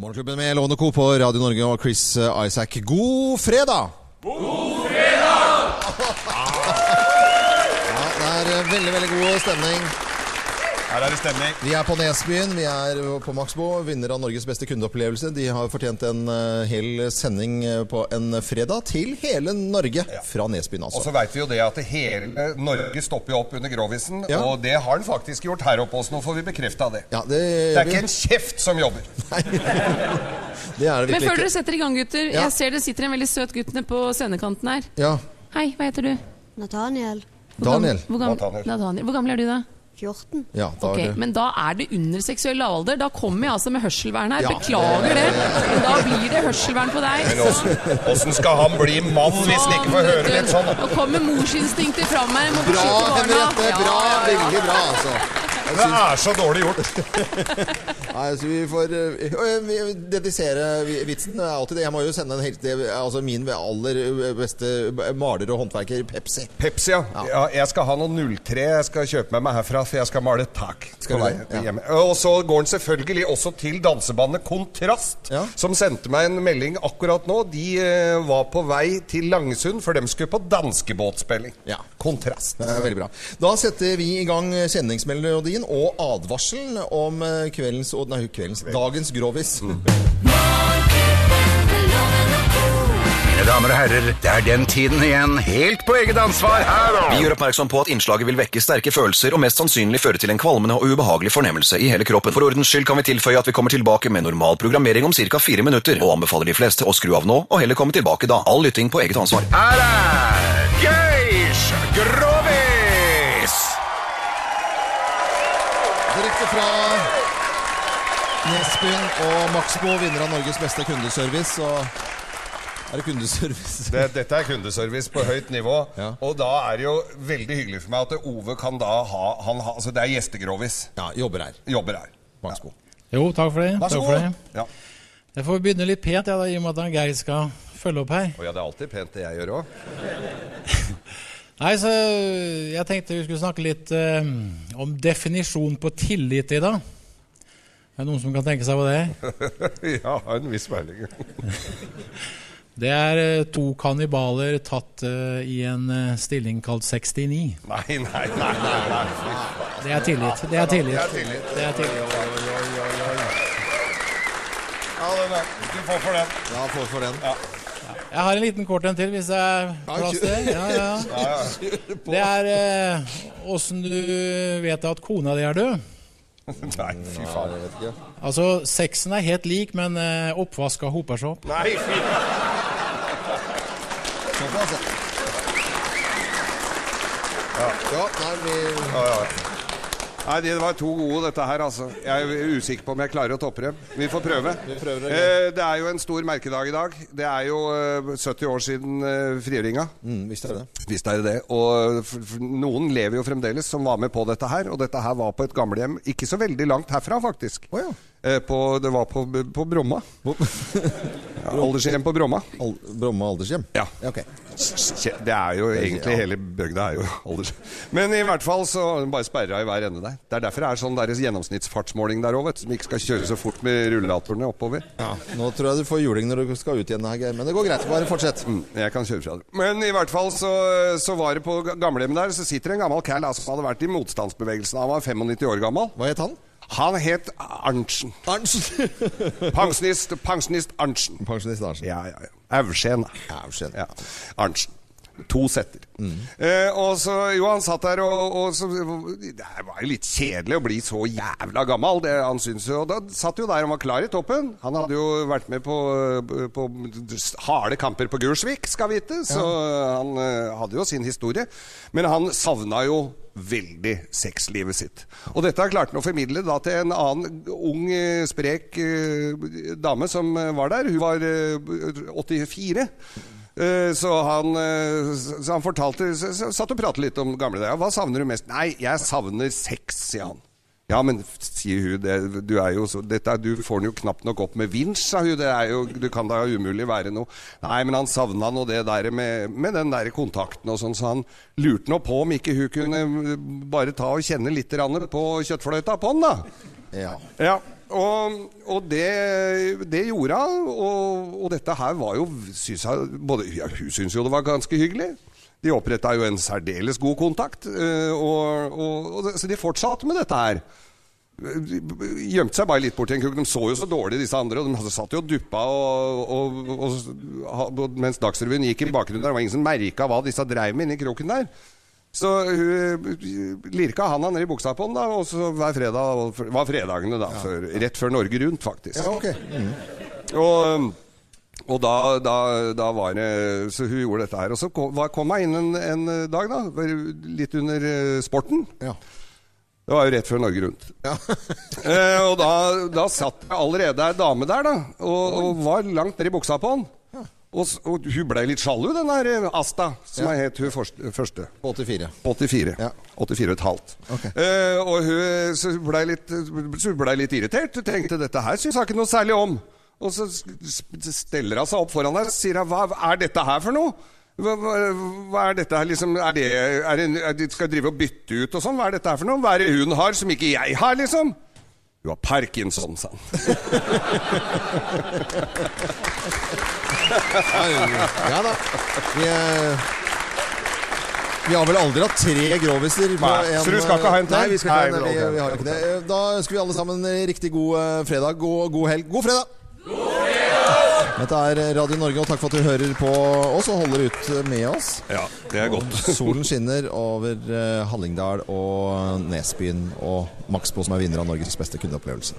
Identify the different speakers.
Speaker 1: Morgenklubben med Lovende Co. på Radio Norge og Chris eh, Isaac. God fredag! God fredag! ja, det er eh, veldig, veldig god stemning.
Speaker 2: Her er det stemning.
Speaker 1: Vi er på Nesbyen, vi er på Maxbo, vinner av Norges beste kundeopplevelse. De har fortjent en eh, hel sending eh, på en fredag til hele Norge. Fra Nesbyen,
Speaker 2: Og så
Speaker 1: altså.
Speaker 2: veit vi jo det at hele Norge stopper jo opp under Grovisen.
Speaker 1: Ja.
Speaker 2: Og det har den faktisk gjort her oppe også, nå får vi bekrefta det.
Speaker 1: Ja, det,
Speaker 2: Det er ikke en kjeft som jobber.
Speaker 1: det er det
Speaker 3: Men
Speaker 1: virkelig
Speaker 3: før dere
Speaker 1: ikke.
Speaker 3: setter i gang, gutter.
Speaker 1: Ja.
Speaker 3: Jeg ser det sitter en veldig søt gutt nede på scenekanten her.
Speaker 1: Ja,
Speaker 3: Hei, hva heter du?
Speaker 4: Nathaniel,
Speaker 3: Hvor gam-
Speaker 1: Daniel.
Speaker 3: Hvor gammel,
Speaker 2: Nathaniel.
Speaker 3: Nathaniel. Hvor gammel er du, da?
Speaker 4: 14.
Speaker 1: ja, da
Speaker 3: Ok,
Speaker 1: er det.
Speaker 3: men da er det under seksuell lavalder. Da kommer jeg altså med hørselvern her.
Speaker 1: Ja.
Speaker 3: Beklager det. Men Da blir det hørselvern på deg.
Speaker 2: Men åssen- åssen skal han bli mann hvis han ikke får høre litt sånn?
Speaker 3: Nå kommer morsinstinktet fram her. jeg må
Speaker 1: Bra,
Speaker 3: beskytte barna.
Speaker 1: Henriette!
Speaker 3: Ja,
Speaker 1: Bra!
Speaker 3: ja, ja.
Speaker 1: Veldig bra, altså.
Speaker 2: Det er så dårlig gjort.
Speaker 1: Nei, så vi får eh, øh, vi- dedisere vi- vitsen. Det er alltid det. Jeg må jo sende en helt, det er altså min aller øh, beste maler og håndverker Pepsi.
Speaker 2: Pepsi, ja. ja. Jeg skal ha noen 03 jeg skal kjøpe med meg herfra, for jeg skal male et tak.
Speaker 1: Skal
Speaker 2: på
Speaker 1: du
Speaker 2: vei
Speaker 1: det? Ja.
Speaker 2: hjemme. Og så går den selvfølgelig også til dansebandet Kontrast,
Speaker 1: Ja.
Speaker 2: som sendte meg en melding akkurat nå. De eh, var på vei til Langesund, for de skulle på danskebåtspilling.
Speaker 1: Ja.
Speaker 2: Kontrast.
Speaker 1: Det er veldig bra. Da setter vi i gang kjenningsmelodien og advarselen om eh, kveldens og nei, kveldens dagens grovis.
Speaker 5: Mine damer og herrer, det er den tiden igjen, helt på eget ansvar her og...
Speaker 6: Vi gjør oppmerksom på at innslaget vil vekke sterke følelser og mest sannsynlig føre til en kvalmende og ubehagelig fornemmelse i hele kroppen. For ordens skyld kan vi tilføye at vi kommer tilbake med normal programmering om ca. fire minutter, og anbefaler de fleste å skru av nå og heller komme tilbake da. All lytting på eget ansvar.
Speaker 5: Her er Geir Grovis!
Speaker 1: Direkte fra Nesbyen og Maxbo, vinner av Norges beste kundeservice. Og er det kundeservice?
Speaker 2: Det, dette er kundeservice på høyt nivå.
Speaker 1: Ja.
Speaker 2: Og da er det jo veldig hyggelig for meg at Ove kan da ha, han ha Altså, det er gjestegrovis.
Speaker 1: Ja, jobber her.
Speaker 2: Jobber her.
Speaker 1: Maxbo.
Speaker 7: Jo, takk for det.
Speaker 2: Vær så
Speaker 7: takk for
Speaker 2: god.
Speaker 7: det.
Speaker 2: Ja.
Speaker 7: Jeg får begynne litt pent, jeg, da, i og med at Geir skal følge opp her.
Speaker 2: Og ja, det er alltid pent, det jeg gjør òg.
Speaker 7: Nei, så Jeg tenkte vi skulle snakke litt eh, om definisjon på tillit i dag. Er det noen som kan tenke seg på det?
Speaker 2: ja, har en viss peiling.
Speaker 7: Det er eh, to kannibaler tatt eh, i en eh, stilling kalt 69.
Speaker 2: Nei, nei, nei. nei, nei.
Speaker 7: Det er tillit. Det er
Speaker 2: Det er
Speaker 7: tillit.
Speaker 2: tillit.
Speaker 7: Det er tillit.
Speaker 2: Ja, den er. Du får for den.
Speaker 1: Ja, får for den.
Speaker 7: Jeg har en liten kort en til, hvis det er plass til. Ja, ja. Det er eh, åssen du vet at kona di er død.
Speaker 2: Nei, fy faen.
Speaker 7: Altså, sexen er helt lik, men eh, oppvaska hoper seg opp.
Speaker 2: Nei, fy faen.
Speaker 1: Såpass, ja. Ja, nei, vi
Speaker 2: Ja, ja. Nei, Det var to gode, dette her. altså Jeg er usikker på om jeg klarer å toppe dem. Vi får prøve.
Speaker 1: prøver det.
Speaker 2: eh, det er jo en stor merkedag i dag. Det er jo eh, 70 år siden eh, frigjøringa.
Speaker 1: Mm, visst er det.
Speaker 2: Hvis det er det. Og f- f- noen lever jo fremdeles som var med på dette her. Og dette her var på et gamlehjem ikke så veldig langt herfra, faktisk.
Speaker 1: Å ja.
Speaker 2: Eh, På, det var på, på Bromma. Ja, Aldershjem på Bromma.
Speaker 1: Al Bromma aldershjem?
Speaker 2: Ja.
Speaker 1: ok.
Speaker 2: Kje- Det er jo egentlig
Speaker 1: ja.
Speaker 2: hele bygda er jo alders. Men i hvert fall så er den bare sperra i hver ende der. Det er derfor det er sånn deres gjennomsnittsfartsmåling der òg, vet du. Som ikke skal kjøre så fort med rullatorene oppover.
Speaker 1: Nå tror jeg du får juling når du skal ut igjen, her, Geir. Men det går greit. Bare fortsett.
Speaker 2: Mm, Jeg kan kjøre fra det. Men i hvert fall så, så var det på ga- gamlehjemmet der, så sitter en gammel cal altså, som hadde vært i motstandsbevegelsen. Han var 95 år gammel.
Speaker 1: Hva het han?
Speaker 2: Han het Arntzen.
Speaker 1: Arntzen.
Speaker 2: Pensjonist, pensjonist Arntzen.
Speaker 1: Pensjonist Arntzen.
Speaker 2: Ja, ja, ja. Aursén.
Speaker 1: Aursén.
Speaker 2: Ja. Arntzen. To setter. Eh, og så, jo, han satt der, og, og så Det var jo litt kjedelig å bli så jævla gammel, det han syntes jo. Og da satt jo der han var klar i toppen. Han hadde jo vært med på, på harde kamper på Gursvik, skal vite, så han eh, hadde jo sin historie. Men han savna jo veldig sexlivet sitt. Og dette klarte han å formidle da til en annen ung, eh, sprek eh, dame som eh, var der. Hun var eh, 84. Eh, Så han, eh, s- så han fortalte s- s- Satt og pratet litt om gamle dager. Hva savner du mest? Nei, jeg savner sex, sier han. Ja, men f- sier hun det, du, er jo så, dette, er- du får den jo knapt nok opp med vinsj, sa hun. Det er jo, du kan da umulig være noe Nei, men han savna nå det der med, med den der kontakten og sånn, så han lurte nå på om ikke hun kunne eh, bare ta og kjenne litt grann på kjøttfløyta på han, da.
Speaker 1: Ja.
Speaker 2: Ja, og, og det, det gjorde hun. Og, og dette her var jo synes jeg, både, ja, Hun syntes jo det var ganske hyggelig. De oppretta jo en særdeles god kontakt. eh, Og, og, og, så de fortsatte med dette her. De Gjemte seg bare litt bort i en krok. De så jo så dårlig, disse andre. Og de hadde- satt jo og duppa og, og, og, og, mens Dagsrevyen gikk i bakgrunnen. Der det var ingen som merka hva disse dreiv med inni kroken der. Så hun lirka handa ned i buksa på den, da, og så hver fredag var fredagene, da. Før, rett før Norge Rundt, faktisk.
Speaker 1: ja, ok. Mm,
Speaker 2: Og, og da, da, da var det Så hun gjorde dette her. Og så kom, var- kom hun inn en, en dag, da. var Litt under eh, sporten.
Speaker 1: Ja.
Speaker 2: Det var jo rett før Norge Rundt. eh, og da, da satt det allerede ei dame der, da, og, og var langt ned i buksa på han. Og, s- og hun ble litt sjalu, den her eh, Asta, som
Speaker 1: Ja.
Speaker 2: er het hun forst- første.
Speaker 1: På 84.
Speaker 2: På 84.
Speaker 1: Ja.
Speaker 2: 84 og et halvt.
Speaker 1: Ok.
Speaker 2: Eh, og hun, så hun blei litt, så hun ble litt irritert. Hun tenkte dette her syns hun ikke noe særlig om. Og så s- s- steller hun seg opp foran deg og sier hun, hva er dette her for noe? Hva, hva, hva er dette her liksom er det, er det, er det, Skal jeg drive og bytte ut og sånn? Hva er dette her for noe? Hva er det hun har som ikke jeg har, liksom? Hun har parkinson, sa han.
Speaker 1: Ja da. Vi, eh, vi har vel aldri hatt tre groviser. på
Speaker 2: Nei, så du skal ikke ha en til?
Speaker 1: Nei, vi, skal ikke ha en,
Speaker 2: Nei,
Speaker 1: vi,
Speaker 2: ok.
Speaker 1: vi har ikke det. Eh, Da ønsker vi alle sammen en riktig god eh, fredag og god helg. God fredag! Dette er Radio Norge, og takk for at du hører på oss og holder ut med oss.
Speaker 2: Ja, det er godt.
Speaker 1: Solen skinner over eh, Hallingdal og Nesbyen og Maxbo, som er vinner av Norges beste kundeopplevelse.